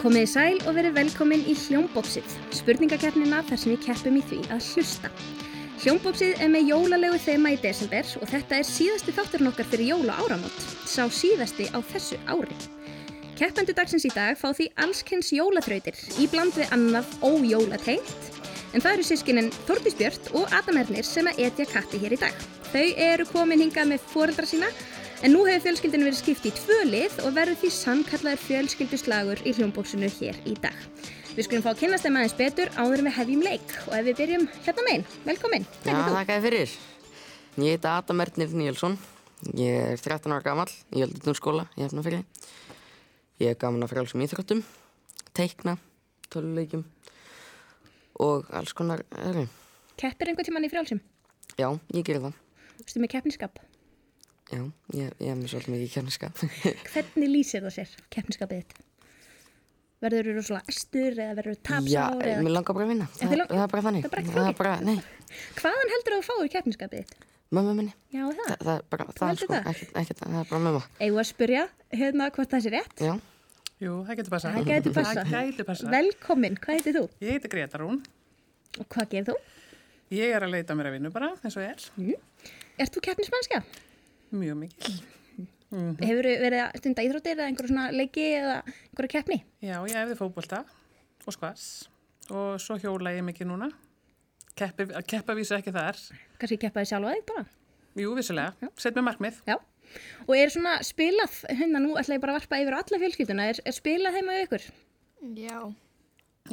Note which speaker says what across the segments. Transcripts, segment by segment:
Speaker 1: Komið í sæl og verið velkomin í Hljómbópsið, spurningakeppnina þar sem við keppum í því að hlusta. Hljómbópsið er með jólalegu þema í desember og þetta er síðasti þátturinn okkar fyrir jóla áramót, sá síðasti á þessu ári. Keppendur dagsins í dag fá því allskenns jólaþrautir, í bland við annað ójólatengt, en það eru sískinin Þórdís Björt og Adam Ernir sem að etja kappi hér í dag. Þau eru komin hingað með foreldra sína, en nú hefur fjölskyldinu verið skipt í tvö lið og verður því samkallaður fjölskylduslagur í hljómbóksinu hér í dag. Við skulum fá að kynnast þeim aðeins betur áður en við hefjum leik og ef við byrjum hérna megin, velkomin,
Speaker 2: Já,
Speaker 1: hvernig þú?
Speaker 2: þakka þér fyrir. Ég heita Adam Ernir Níelsson. Ég er 13 ára gamall í öldutnumskóla í Efnafyrði. Ég er gaman af frálsum íþróttum, teikna, töluleikjum og alls konar öðru.
Speaker 1: Keppir einhvern tíman í frjálsum?
Speaker 2: Já, ég gerir það.
Speaker 1: Vistu með keppniskap?
Speaker 2: Já, ég, ég er með svolítið mikið kjarniskap.
Speaker 1: Hvernig lýsir það sér, keppniskapið þitt? Verður þú rosalega æstur eða verður þú
Speaker 2: Já,
Speaker 1: tapsár eða
Speaker 2: mér langar bara að vinna.
Speaker 1: þig
Speaker 2: Það,
Speaker 1: langar-
Speaker 2: það er bara þannig.
Speaker 1: það er bara ekki flókið.
Speaker 2: bara, nei,
Speaker 1: hvaðan heldur þú að fáir keppniskapið þitt?
Speaker 2: mömmu minni.
Speaker 1: Já, er
Speaker 2: Það,
Speaker 1: það.
Speaker 2: það er bara, það er
Speaker 1: heldur
Speaker 2: sko,
Speaker 1: það?
Speaker 2: ekkert, ekkert, það er bara mömmu.
Speaker 1: Eigum við að spyrja hérna hvort það sé rétt?
Speaker 2: Já,
Speaker 3: Jú, það getur passað.
Speaker 1: Það gæti passað.
Speaker 3: Það gæti passað.
Speaker 1: Velkomin, hvað heitir þú?
Speaker 3: Ég heiti Greta Rún.
Speaker 1: Og hvað gerir þú?
Speaker 3: Ég er að leita mér að vinna bara, eins og ég er.
Speaker 1: Ert þú keppnismannskja?
Speaker 3: Mjög mikil.
Speaker 1: Hefur þú verið að stunda íþróttir eða einhverjum svona leiki eða einhverju keppni?
Speaker 3: Já, ég hefði fókbólta og skvass og svo hjóla ég mikið núna. Keppi, að keppa vísu ekki þar.
Speaker 1: Kanski keppaði sjálfa þig bara?
Speaker 3: Jú, vissulega. Sett mér markmið.
Speaker 1: Já. Og er svona spilað, hérna nú ætla ég bara að varpa yfir á alla fjölskylduna, er, er spilað heima við ykkur?
Speaker 4: Já,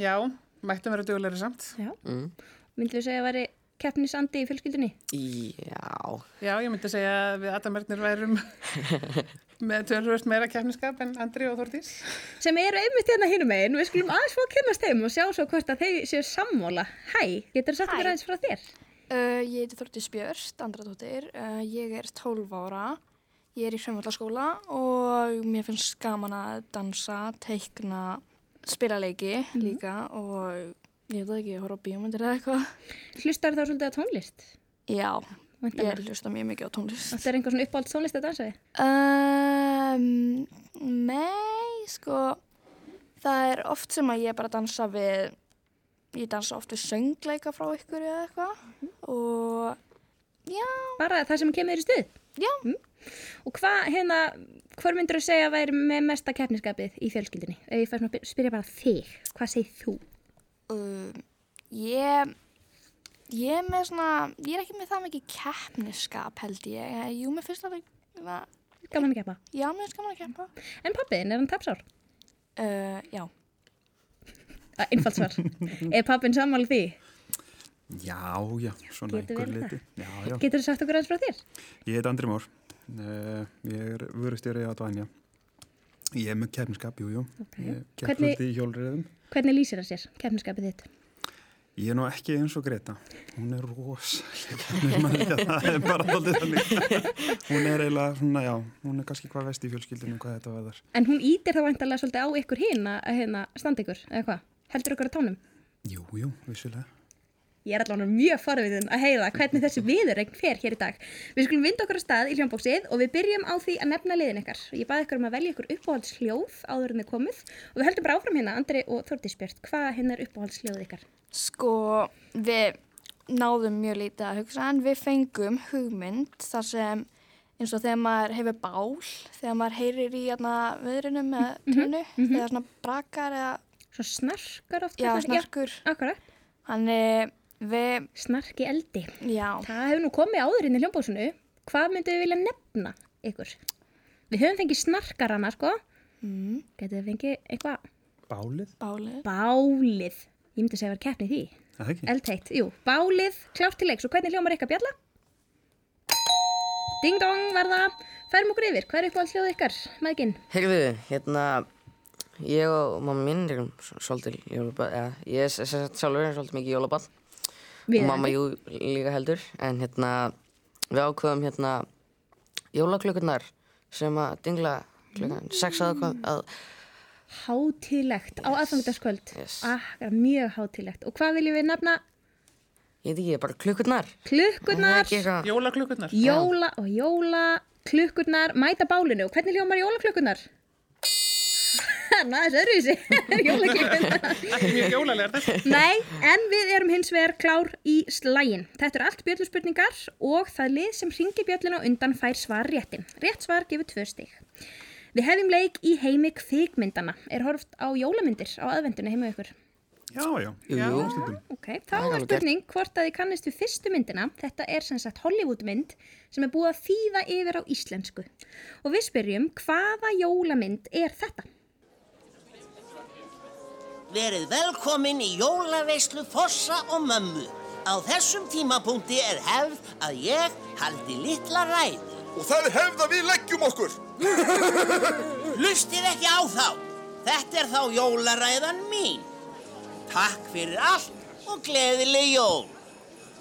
Speaker 3: Já, mættum vera dugleiri samt.
Speaker 1: Já. Mm. Myndum við segja að væri keppnisandi í fjölskyldunni?
Speaker 2: já,
Speaker 3: Já, ég myndi segja að við Adamernir værum með tölvöld meira keppniskap en Andri og Þordís.
Speaker 1: sem eru einmitt hérna hínum megin við skulum aðeins fá að kynnast þeim og sjá svo hvort að þeir séu sammála Hæ, getur þú sagt mér
Speaker 4: Hæ.
Speaker 1: aðeins frá þér?
Speaker 4: uh, ég heiti Þortís Björst, andradóttir, uh, ég er 12 ára, ég er í hrjónvallaskóla og mér finnst gaman að dansa, teikna, spila leiki líka og ég veit það ekki, horfa á bíómyndir eða eitthvað.
Speaker 1: Hlustar þá svolítið á tónlist?
Speaker 4: Já, ég
Speaker 1: Væntanlega.
Speaker 4: er hlusta mjög mikið á tónlist.
Speaker 1: Þetta er einhver svona uppáhalds tónlist að dansa við?
Speaker 4: Um, nei, sko, það er oft sem að ég bara dansa við, ég dansa oft við söngleika frá ykkur eða eitthvað og já,
Speaker 1: Bara það sem kemur þér í stuð?
Speaker 4: Já.
Speaker 1: Mm. Og hvað hérna, hvað myndur þú segja að væri með mesta keppniskapið í fjölskyldunni? Ef ég fær svona að by- spyrja bara þig, hvað segir þú?
Speaker 4: um, ég, ég er með svona, ég er ekki með það mikið keppnisskap held ég, Eh, jú, mér finnst alveg, na,
Speaker 1: Gaman að keppa.
Speaker 4: já, mér finnst gaman að keppa,
Speaker 1: En pappiðin, er hann tapsár?
Speaker 4: uh, já,
Speaker 1: Að, Einfalt svar. er pappin sammála því?
Speaker 5: Já, já, svona
Speaker 1: Getur
Speaker 5: einhver
Speaker 1: verið
Speaker 5: liti. Já, já.
Speaker 1: Getur þú sagt okkur aðeins frá þér?
Speaker 5: Ég heit Andri Mór, uh, ég er vörustjóri á Dvanja. Ég er með keppniskap, jú, jú. Okay. Ég kepp
Speaker 1: Hvernig-
Speaker 5: svolítið í hjólriðum.
Speaker 1: Hvernig lýsir það sér, keppniskapið þitt?
Speaker 5: Ég er nú ekki eins og Greta. Hún er rosalega, hérna. það er bara alltaf þannig. Hún er eiginlega svona, já, hún er kannski hvað vest í fjölskyldinu hvað þetta verðar.
Speaker 1: En hún ítir það vantarlega svolítið á ykkur hinn að hérna standa ykkur, eða hvað? Heldur ykkur á tánum?
Speaker 5: Jú, jú, vissulega.
Speaker 1: Ég er allavega mjög forviðin að heyra hvernig þessi viðurregn fer hér í dag. Við skulum vinda okkur á stað í hljómbóksið og við byrjum á því að nefna liðin ykkar. Ég baði ykkur um að velja ykkur uppáhaldsljóð áður en þið komið og við höldum bara áfram hérna, Andri og Þordísbjörn, hvað hérna er uppáhaldsljóð ykkar?
Speaker 4: Sko, við náðum mjög lítið að hugsa en við fengum hugmynd þar sem eins og þegar maður hefur bál, þegar maður heyrir í hérna, viðrinu með tunnu, þegar svona brakar eða
Speaker 1: Svo snarkar oft.
Speaker 4: já,
Speaker 1: kallað-
Speaker 4: snarkur.
Speaker 1: Já, akkurat.
Speaker 4: Þannig við,
Speaker 1: Snark í eldi.
Speaker 4: já,
Speaker 1: Það hefur nú komið áður hérna í hljómbóksinu. Hvað myndu við vilja nefna ykkur? Við höfum fengið snarkarana, sko.
Speaker 4: mm,
Speaker 1: Gætið þið fengið eitthvað?
Speaker 5: Bálið?
Speaker 4: bálið.
Speaker 1: Bálið. Ég myndi segja að vera keppni í því.
Speaker 5: Er Það ekki?
Speaker 1: Eldteitt, jú, bálið, klárt til leiks og hvernig hljómar ykkar bjalla? Ding dong var það, færum okkur yfir, hver er uppáhald hljóð ykkar, maðginn?
Speaker 2: Heyrðu, hérna, ég og mamma mín erum s- svolítið jólabann, eða ég er s- sem sagt sjálfur er svolítið mikið jólabann og mamma jú líka heldur, en hérna, við ákveðum hérna jólaklukkunar sem að dingla klukkan 6 að, að
Speaker 1: Hátílegt á aðfangtaskvöld,
Speaker 2: yes.
Speaker 1: akkar mjög hátílegt og hvað viljum við nefna?
Speaker 2: ég veit ekki, bara klukkunar.
Speaker 1: Klukkurnar,
Speaker 2: eitthvað,
Speaker 3: Jólaklukkurnar.
Speaker 1: jóla og jóla, klukkurnar, mæta bálinu og hvernig hljómar jólaklukkurnar? Ha, hann aðeins öðruvísi jólagjöfina.
Speaker 3: Ekki mjög jólalegar þess.
Speaker 1: Nei, en við erum hins vegar klár í slægin. Þetta eru allt bjölluspurningar og það lið sem ringi bjölluna á undan fær svar réttin. Rétt svar gefur tvö stig. Við hefum leik í heimi kvikmyndana. Er horft á jólamyndir á aðvendunni heima hjá ykkur?
Speaker 5: Já, já.
Speaker 2: Jú, jú.
Speaker 5: Stundum.
Speaker 1: Ok, þá
Speaker 2: Það er
Speaker 1: er
Speaker 2: alveg
Speaker 1: spurning hvort að þið kannist við fyrstu myndina. Þetta er sem sagt Hollywoodmynd sem er búið að þýða yfir á íslensku. Og við spyrjum hvaða jólamynd er þetta?
Speaker 6: Verið velkomin í jólaveislu Fossa og mömmu. Á þessum tímapunkti er hefð að ég haldi litla ræðu.
Speaker 7: Og það er hefð að við leggjum okkur.
Speaker 6: Hlustið ekki á þá. Þetta er þá jólaræðan mín. Takk fyrir allt og gleðileg jól.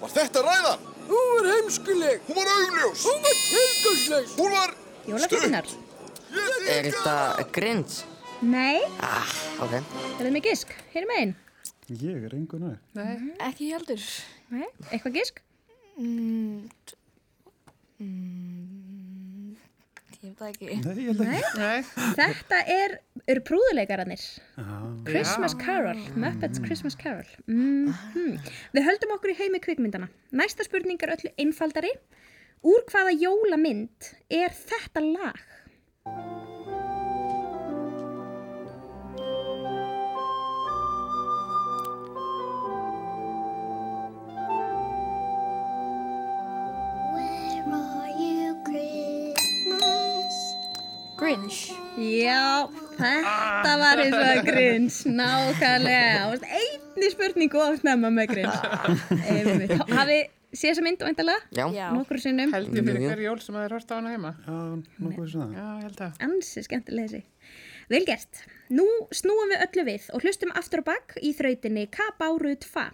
Speaker 7: Var þetta ræðan?
Speaker 6: Hún var heimskuleg.
Speaker 7: Hún var augljós.
Speaker 6: Hún var tilgangslaus.
Speaker 7: Hún var...
Speaker 1: Jólabjörnar?
Speaker 7: Ég
Speaker 2: Er þetta Grinch?
Speaker 1: Nei,
Speaker 2: Ah, ok.
Speaker 1: það er með gisk. Hér er með einn.
Speaker 5: Ég er engu nær.
Speaker 3: Nei,
Speaker 4: Ekki ég heldur.
Speaker 1: Nei, eitthvað gisk?
Speaker 4: Mm, t- mm, ég veit það ekki.
Speaker 5: Nei, ég held ekki.
Speaker 3: nei.
Speaker 1: Þetta er, eru prúðuleikarannir.
Speaker 5: Já,
Speaker 1: Christmas Carol, Muppets Christmas Carol. Mm Við höldum okkur í heimi kvikmyndana. Næsta spurning er öllu einfaldari. Úr hvaða jólamynd er þetta lag?
Speaker 8: Where are you, Christmas?
Speaker 4: Grinch.
Speaker 1: Já, þetta var eins og að grins, nákvæmlega. Það var einni spurningu á snemma með grins. Einmitt. Hafið séð þessa mynd og endala?
Speaker 2: Já.
Speaker 4: Já.
Speaker 1: Nókur sinnum.
Speaker 3: Held ég fyrir
Speaker 2: Jú, jú.
Speaker 3: hverju jól sem það er hort á hana heima.
Speaker 5: já nokkuð sem það.
Speaker 3: Já, ég held að.
Speaker 1: Ansi skemmtileg þessi. Vel gert. Nú snúum við öllu við og hlustum aftur á bakk í þrautinni K-Bárut Fa.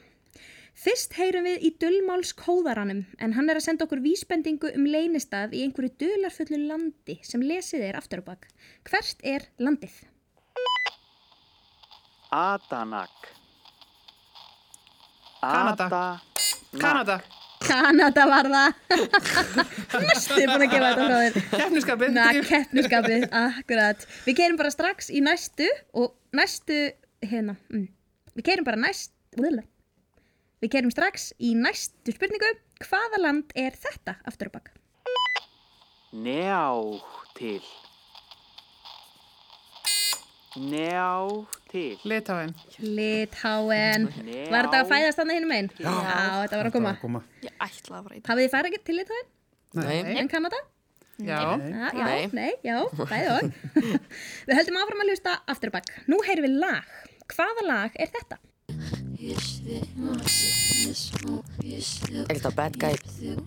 Speaker 1: Fyrst heyrum við í dulmáls kóðaranum en hann er að senda okkur vísbendingu um leynistað í einhverju dularfullu landi sem lesið er aftur á bakk. Hvert er landið?
Speaker 9: Atanak.
Speaker 3: Kanada. Kanada.
Speaker 1: Kanada var það. Mestu búin að gefa þetta frá þér.
Speaker 3: Kefniskapið.
Speaker 1: Na, keppniskapið, akkurat. Við keirum bara strax í næstu og næstu, hérna, mm. við keirum bara næst, vila. við keirum strax í næstu spurningu, hvaða land er þetta aftur á bak?
Speaker 9: Njá til. Njá til.
Speaker 3: Litáin.
Speaker 1: Litháen,
Speaker 9: Njá.
Speaker 1: var þetta að fæðast þannig hinum einn? Já. þetta var að koma.
Speaker 5: Bara koma.
Speaker 4: Ég ætlaði að fara í það.
Speaker 1: Hafið þið farið ekki til Litháen
Speaker 2: Nei.
Speaker 1: en Kanada?
Speaker 3: Já.
Speaker 1: Ah, já,
Speaker 2: Nei.
Speaker 1: nei, já, bæði og. við höldum áfram að hlusta aftur á bak. Nú heyrum við lag. Hvaða lag er þetta?
Speaker 2: Er þetta Bad Guy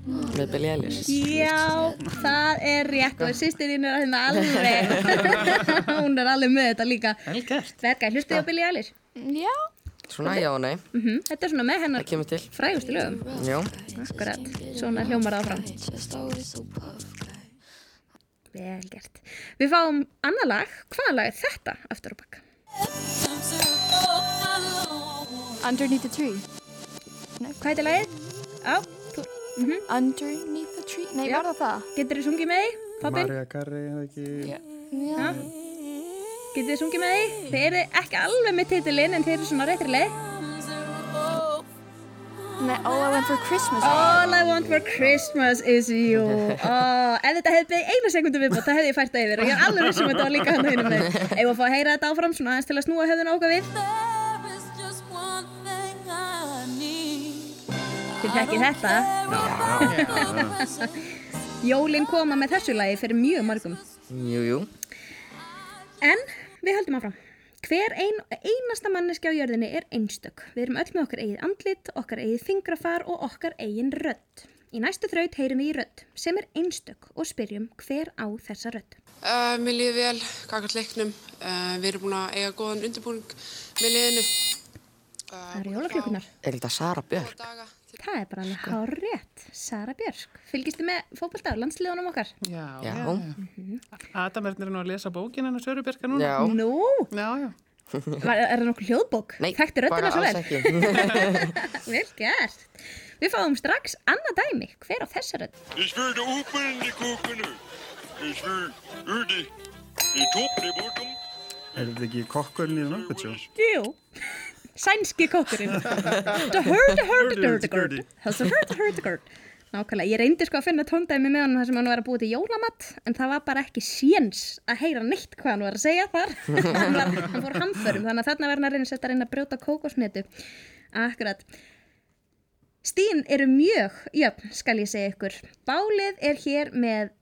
Speaker 2: með Billie Eilish?
Speaker 1: Já, það er rétt og sýstirinn er að hérna alveg hún er alveg með þetta líka
Speaker 3: Vel gert.
Speaker 1: Verka, hlustu ég á Billie Eilish?
Speaker 4: Já.
Speaker 2: Svona já og nei.
Speaker 1: Mhm, Þetta er svona með hennar
Speaker 2: Það kemur til.
Speaker 1: frægustu lögum
Speaker 2: Já.
Speaker 1: Akkurat, svona hljómar það áfram Vel gert Við fáum annað lag, hvaða lag er þetta aftur á bakka?
Speaker 4: Underneath the tree.
Speaker 1: Hvað heitir lagið? Á, þú
Speaker 4: Underneath the tree. Nei,
Speaker 1: Já.
Speaker 4: var það það?
Speaker 1: getur þið sungið með því? Pabbi,
Speaker 5: Marja Garri, eða ekki.
Speaker 4: Já.
Speaker 1: getur þið sungið með því? Þið eru ekki alveg með titilinn en þið eru svona réttri leið
Speaker 4: Nei, All I Want For Christmas.
Speaker 1: All I want for Christmas is you oh, Ef þetta hefði beðið eina sekundu viðbót þá hefði ég fært það yfir og ég er alveg vissum að þetta var líka hann hinn með Ef að fá að heyra þetta áfram svona aðeins til að snúa höfðun ákvað við Þið tekki þetta Jólin koma með þessu lagi fyrir mjög margum
Speaker 2: Jú, jú.
Speaker 1: En við höldum áfram Hver ein, einasta manneski á jörðinni er einstök. Við erum öll með okkar eigið andlit, okkar eigið fingrafar og okkar eigin rödd. Í næstu þraut heyrum við í rödd sem er einstök og spyrjum hver á þessa rödd.
Speaker 10: Uh, mér líður vel, kakart leiknum. Uh, við erum búin að eiga góðan undirbúning með liðinu. Eh,
Speaker 1: Það eru jólaklukkunar.
Speaker 2: Er þetta Sara Björk?
Speaker 10: Daga til Sko.
Speaker 1: Það er bara alveg hár rétt. Sara Björk. Fylgistu með fótballtaf, landsliðunum okkar?
Speaker 3: Já.
Speaker 2: Já.
Speaker 3: Adam er nú að lesa bókin hennar Sörubjörka núna.
Speaker 2: Já.
Speaker 1: Nú,
Speaker 3: Já, já.
Speaker 1: var, er það nokkuð hljóðbók?
Speaker 2: Nei,
Speaker 1: Þekktu
Speaker 2: bara
Speaker 1: röddina svo
Speaker 2: alls
Speaker 1: vel?
Speaker 2: ekki.
Speaker 1: Vel gert. Við fáum strax annað dæmi. Hver á þessa rödd?
Speaker 7: Ich würde oben in die Kuchen. Ich will über die, die Top, die Bottom.
Speaker 5: Er þetta ekki kokkurinn í Muppet Show?
Speaker 1: Jú, sænski kókurinn. The hurdy hurdy hurdy hurdy. The hurdy hurdy hurdy. Nákvæmlega, ég reyndi sko að finna tóndæmi með hann þar sem hann var að búa til jólamatt en það var bara ekki séns að heyra neitt hvað hann var að segja þar hann, var, hann fór hamförum, þannig að þarna var hann að reyna að setja að reyna að brjóta kókosnetu Akkurat Stín eru mjög, jöfn skal ég segja ykkur Bálið er hér með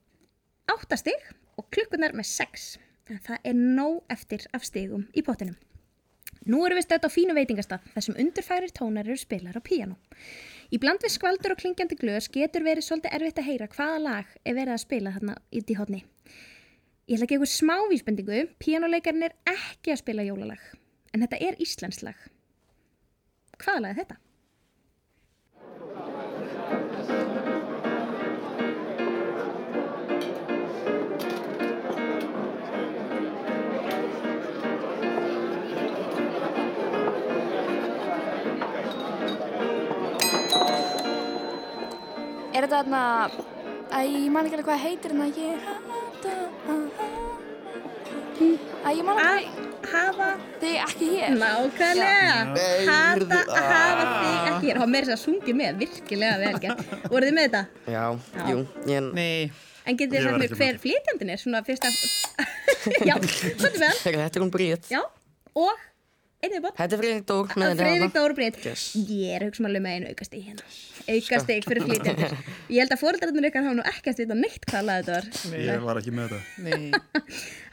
Speaker 1: áttastig og klukkunar með 6 en það er nóg eftir af stigum í pottinum Nú erum við stöðt á fínu veitingastað þar sem undurfærir tónar eru spilar á píano. Í bland við skvaldur og klingjandi glös getur verið svolítið erfitt að heyra hvaða lag er verið að spila þarna í því hotni. Ég ætla að gefa ykkur smá vísbendingu, píanoleikarinn er ekki að spila jólalag, en þetta er íslenslag. Hvaða lag er þetta?
Speaker 4: Er þetta þarna, æ, ég man ekki alveg hvað það heitir en að ég hata, æ, ég man
Speaker 1: Að
Speaker 4: ekki,
Speaker 1: hafa
Speaker 4: þið er ekki hér.
Speaker 1: nákvæmlega,
Speaker 7: Já.
Speaker 1: hata
Speaker 7: Heyrðu, Ah.
Speaker 1: að hafa þig ekki hér. Há meira þess að sungið með, virkilega vel gert. Voruð þið með þetta?
Speaker 2: Já, jú, ég,
Speaker 3: Nei,
Speaker 1: En getið
Speaker 5: Ég
Speaker 1: þið
Speaker 5: var
Speaker 1: sagt mér
Speaker 5: ekki með
Speaker 1: hver flytjandinn er svona fyrst að... Já, svolítið með hann.
Speaker 2: þetta er hún Bríett.
Speaker 1: Já, og einnig bótt.
Speaker 2: Þetta er Friðrik Dór með hérna. henni
Speaker 1: Freyðvík
Speaker 2: hana.
Speaker 1: Dóru Breit
Speaker 2: Yes.
Speaker 1: Ég er að hugsa alveg með einu aukastig hérna Aukastig fyrir flytjandur Ég held að foreldrarnir ykkar hafa nú ekkert vita neitt hvað laði þetta var
Speaker 5: Ég var ekki með þetta.
Speaker 3: nei.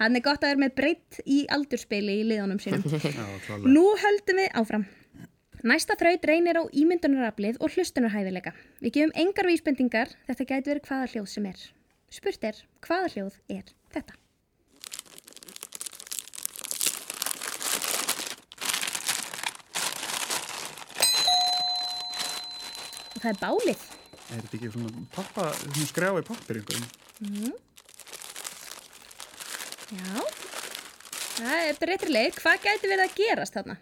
Speaker 1: Hann er gott að vera með breytt í aldurspili í liðunum sínum
Speaker 5: Já, klálega.
Speaker 1: Nú höldum við áfram Næsta þraut reynir á ímyndunaraflið og hlustunarhæfileika Við gefum engar vísbendingar Þetta gæti verið hvaða hljóð sem er Spurt er, hvaða hljóð er þetta? Og það er bálið
Speaker 5: Er þetta ekki svona pappa, svona skrjá í pappir einhverjum?
Speaker 1: Já, það er þetta réttir leið. Hvað gæti verið að gerast þarna?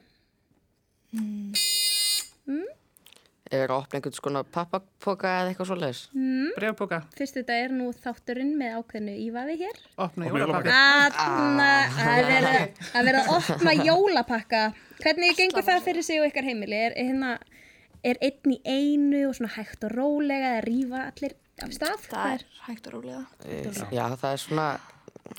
Speaker 2: Er að opna einhvern skona pappapoka eða eitthvað svoleiðis?
Speaker 1: Mm,
Speaker 3: Brefbóka,
Speaker 1: Fyrst þetta er nú þátturinn með ákveðnu ívaði hér.
Speaker 3: opna
Speaker 5: Opna jólapakka.
Speaker 3: jólapakka.
Speaker 1: Þarna að vera að vera að opna jólapakka. Hvernig gengur það fyrir sig og ykkar heimili? Er, er, hérna, er einn í einu og svona hægt og rólega að rýfa allir af stað?
Speaker 4: Það er hægt og rólega.
Speaker 2: Eh, Já, það er svona,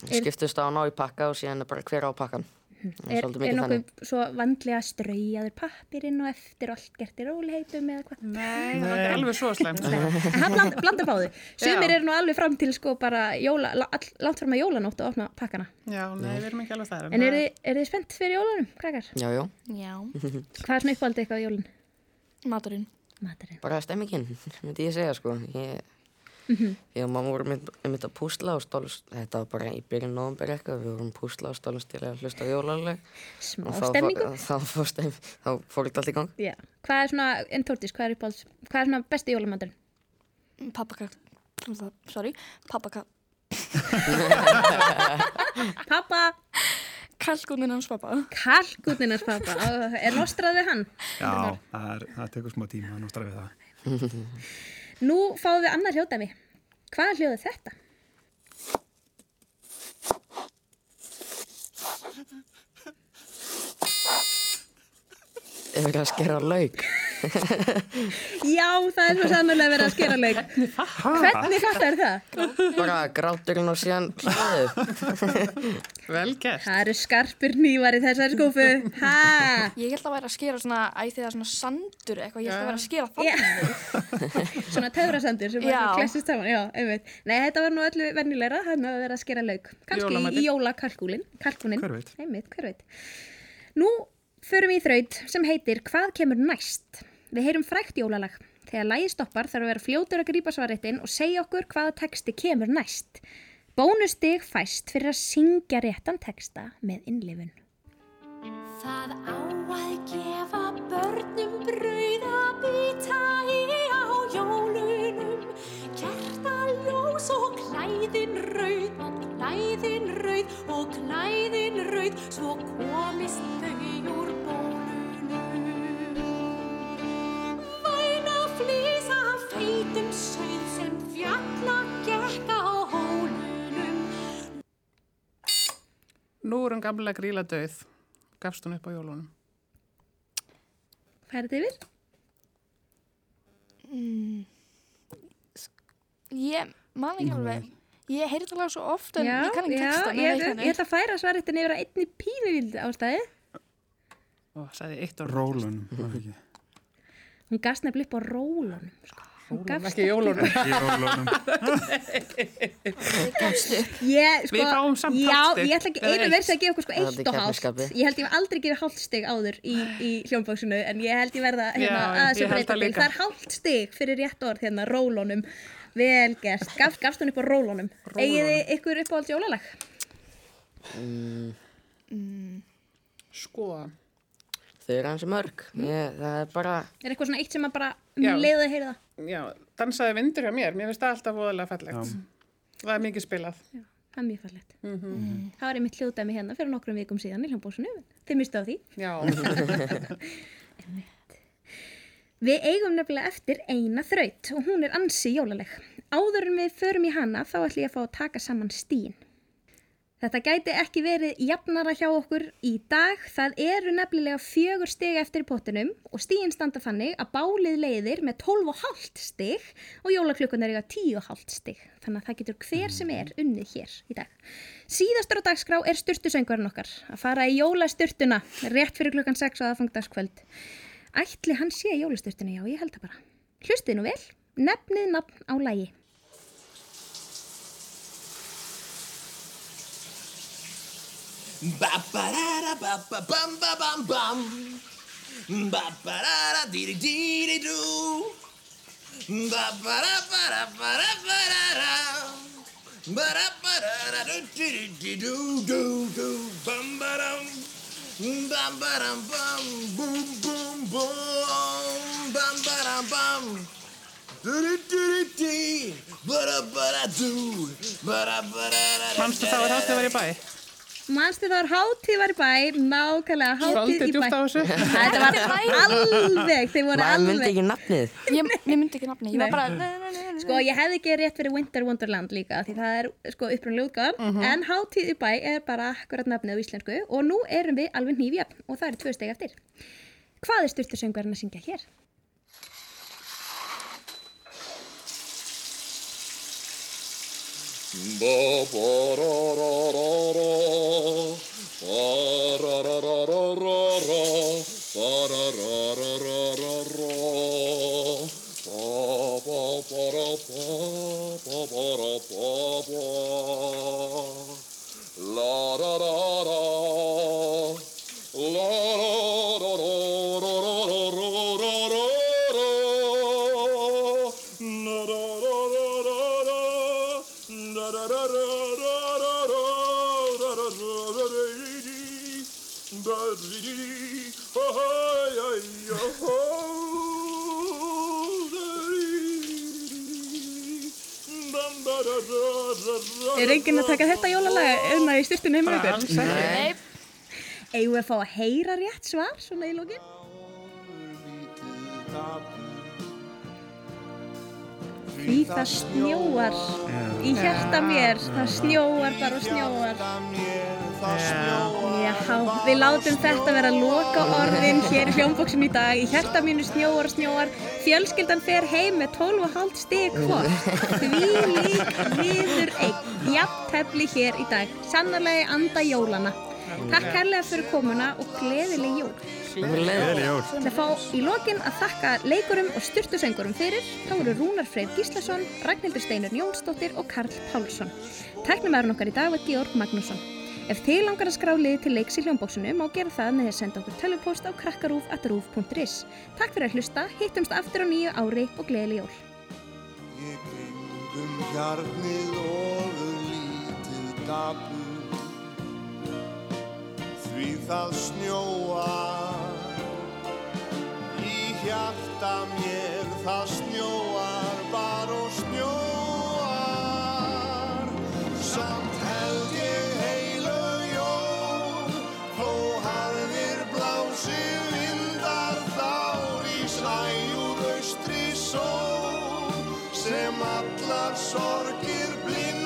Speaker 2: skiptust á hann á í pakka og síðan er bara hver á pakkan. Það
Speaker 1: Mhm. Er,
Speaker 2: svolítið
Speaker 1: er
Speaker 2: mikið
Speaker 1: nokkuð
Speaker 2: þannig.
Speaker 1: svo vandlega straujaður pappirinn og eftir og allt gert í róliheitum eða hvað?
Speaker 3: Nei, það er ekki alveg svo slæmt.
Speaker 1: En hann bland, blandar báðu. Sumir
Speaker 3: Já.
Speaker 1: eru nú alveg fram til sko bara jóla, la- all, langt fram að jólanótt og opna pakkana.
Speaker 3: Já, nei, við erum ekki alveg þar.
Speaker 1: En eru þið- eru þið spennt fyrir jólanum, krakkar?
Speaker 2: Já, já,
Speaker 4: Já.
Speaker 1: Hvað er svona uppáhaldið eitthvað á jólun?
Speaker 4: Maturinn.
Speaker 1: Maturinn.
Speaker 2: bara stemmingin, myndi ég segja sko. Ég,
Speaker 1: Mhm.
Speaker 2: ég og mamma vorum einmitt einmitt að púsla og stálast, þetta var bara í byrjun november eitthvað, við vorum að púsla og stálast til að hlusta á jólaleg.
Speaker 1: Smá
Speaker 2: Og þá fór-
Speaker 1: stemningu.
Speaker 2: Þá fór stemming, þá fór þetta allt í gang.
Speaker 1: Já. Hvað er svona, en Tórtís, hvað er uppáhalds, hvað er svona besti jólamaturinn?
Speaker 4: Pappaka, sorry, pappaka,
Speaker 1: Pappa,
Speaker 4: kalkunin hans pappa.
Speaker 1: kalkutinars pappa, Ó, er nostraðið hann?
Speaker 5: Já, það, er, það tekur smá tíma að náttúrulega við það.
Speaker 1: Nú fáum við annað hljóðdæmi. Hvað er hljóðið þetta?
Speaker 2: Ef við að skera lauk.
Speaker 1: Já, það er svo sannlega verið að skera leik. Hvernig fattar það?
Speaker 2: Bara gráturinn og síðan hlaðið.
Speaker 3: Vel gert.
Speaker 1: Það eru skarpur nývar í þessari skúfu. Ha!
Speaker 4: Ég held að væri að skera svona, æ því það er svona sandur eitthvað, ég held að væri að skera það.
Speaker 1: Já. svona töfrasandur sem
Speaker 4: Já.
Speaker 1: bara klessist saman já, einmitt. Nei, þetta var nú öllu vennilegra hann að vera að skera lauk kannski í,
Speaker 3: Jólamatinn.
Speaker 1: í jólakalkúlin kalkúnin.
Speaker 5: Hver veit?
Speaker 1: einmitt, hver veit Nú förum við í þraut sem heitir Hvað kemur næst? Við heyrum frækt jólalag Þegar lagi stoppar þarf að vera fljótur að grípa svarréttin og segja okkur hvaða texti kemur næst Bónustig fæst fyrir að syngja réttan texta með innlifun
Speaker 8: Það á að gefa börnum brauð að býta í á jólunum. Kertaljós og klæðin rauð og klæðin rauð og klæðin rauð svo komist þau úr bólunum. Væna flýs af feitum sauð sem fjalla gekk á hólunum.
Speaker 3: Nú er hún gamla gríla döið. Gafst hún upp á jólunum.
Speaker 1: Færið yfir?
Speaker 4: Mm, ég man ekki alveg. Ég heyri þetta lag svo oft en
Speaker 1: já,
Speaker 4: ég kann ekki
Speaker 1: já,
Speaker 4: texta.
Speaker 1: ég, ætla- ég ætla að færa svarritin yfir að einni pínulítið ástæði.
Speaker 3: Ó, sagði eitt orð.
Speaker 5: Rólunum, var það ekki?
Speaker 1: Hún gafst nefnilega upp á rólunum. Sko. Hún
Speaker 3: Rólunum,
Speaker 1: gafst
Speaker 3: ekki
Speaker 1: upp-
Speaker 3: jólunum.
Speaker 5: Ekki jólunum.
Speaker 1: Ég, sko,
Speaker 3: Við fáum samt
Speaker 1: já,
Speaker 3: hálft stig,
Speaker 1: ég ætla ekki
Speaker 3: eða
Speaker 1: einu
Speaker 3: eitt.
Speaker 1: verðs að gefa okkur sko
Speaker 2: Það er
Speaker 1: eitt og hálft.
Speaker 2: keppnisskapi.
Speaker 1: Ég held ég hef aldrei gefið hálft stig áður í, í hljómbóksinu en ég held ég verða hérna,
Speaker 3: Já,
Speaker 1: aðeins
Speaker 3: ég
Speaker 1: að
Speaker 3: held
Speaker 1: breyta
Speaker 3: það
Speaker 1: til.
Speaker 3: líka.
Speaker 1: Það er hálft stig fyrir rétt orð hérna, rólunum. Vel gert. Gafst, gafst hún upp á rólunum.
Speaker 3: Rólunum.
Speaker 1: Egið þið ykkur upp á allt jólalag?
Speaker 3: Sko.
Speaker 2: Þau eru hansi mörg. Ég, það er bara,
Speaker 1: Er eitthvað svona eitt sem að bara
Speaker 3: Já.
Speaker 1: um leiðið að heyra það?
Speaker 3: Já, dansaði vindur hjá mér. Mér finnst það alltaf voðalega fallegt. Það er mikið spilað.
Speaker 1: Það er mjög fallegt. Það var einmitt hljóðdæmi hérna fyrir nokkrum vikum síðan í hljómbóksinu. Þið mistu á því.
Speaker 3: Já.
Speaker 1: Við eigum nefnilega eftir eina þraut og hún er ansi jólaleg. Áður en við förum í hana þá ætlum ég að fá að taka saman stín. Þetta gæti ekki verið jafnara hjá okkur í dag. Það eru nefnilega fjögur stig eftir í pottinum og stíin standa þannig að bálið leiðir með 12,5 stig og jólaklukkan er eiga 10,5 stig. Þannig að það getur hver sem er unnið hér í dag. Síðastur á dagskrá er styrtusöngurinn okkar að fara í jólastyrtuna rétt fyrir klukkan 6 á aðfangdagskvöld. Ætli hann sé í jólastyrtuna, já, ég held það bara. Hlustið nú vel, nefnið nafn á lægi.
Speaker 6: Ba-ba-da-da-ba-ba-bam-ba-bam-bam Ba-ba-da-da-dee-dee-dee-doo Ba-ba-da-ba-da-ba-da-ba-da-da Ba-da-ba-da-da-doo-dee-dee-dee-doo-doo-doo Bam-ba-dam Bam-ba-dam-bam Boom-boom-boom Bam-ba-dam-bam Doo-doo-doo-doo-dee Ba-da-ba-da-doo Ba-da-ba-da-da-da
Speaker 3: Manstu það var hátt að vera í bæ?
Speaker 1: Manstu það var hátíð var í bæ, nákvæmlega hátíð
Speaker 3: Svolítið
Speaker 1: í bæ.
Speaker 3: djúpt á þessu.
Speaker 1: Þetta var alveg, þeir voru
Speaker 2: maður myndi
Speaker 1: alveg.
Speaker 2: ekki nafnið.
Speaker 4: Ég, ég myndi ekki nafni. Ég var bara... Nei, nei, nei, nei.
Speaker 1: Sko, ég hefði ekki rétt fyrir Winter Wonderland líka, því það er sko upprunlega útgáð, en hátíð í bæ er bara akkurat nafnið á íslensku og nú erum við alveg nýfjöfn og það eru tvö steg eftir. Hvað er styrtusöngvarinn að syngja hér? Er enginn að taka þetta jólalaga um að í styrtunni heimur ykkur?
Speaker 3: Bara alls ekki.
Speaker 4: Nei.
Speaker 1: Eigum við að fá að heyra rétt svar svona í lókin? Því það snjóar í hjarta mér, það snjóar bara og snjóar. Já, við látum þetta vera loka orðin hér í hljómbóksin í dag. Í hjarta mínu snjóar og snjóar, fjölskyldan fer heim með 12,5 stig hvort. Því lík viður einn, jafntefli hér í dag. Sannarlega í anda jólana. Takk herlega fyrir komuna og gleðileg jól.
Speaker 5: Gleðileg jól.
Speaker 1: Það fá í lokin að þakka leikurum og styrtusöngurum fyrir. Það voru Rúnar Freyr Gíslason, Ragnhildur Steinar Jónsdóttir og Karl Pálsson. Tæknumæðurinn okkar í dag var Georg Magnússon. Ef þið langar að skrá liði til leiks í hljómbóksinu má gera það með því að senda okkur tölvupóst á krakkarúf.rúf.is. Takk fyrir að hlusta, hittumst aftur á nýju ári og gleðileg jól.
Speaker 7: Ég gengum hjarnið ofur lítið dapur Því það snjóar Í hjarta mér það snjóar Bara og snjóar Samt held ég heilu jól Þó harðir blási vindar þár í sæjur austri sól Sem allar sorgir blind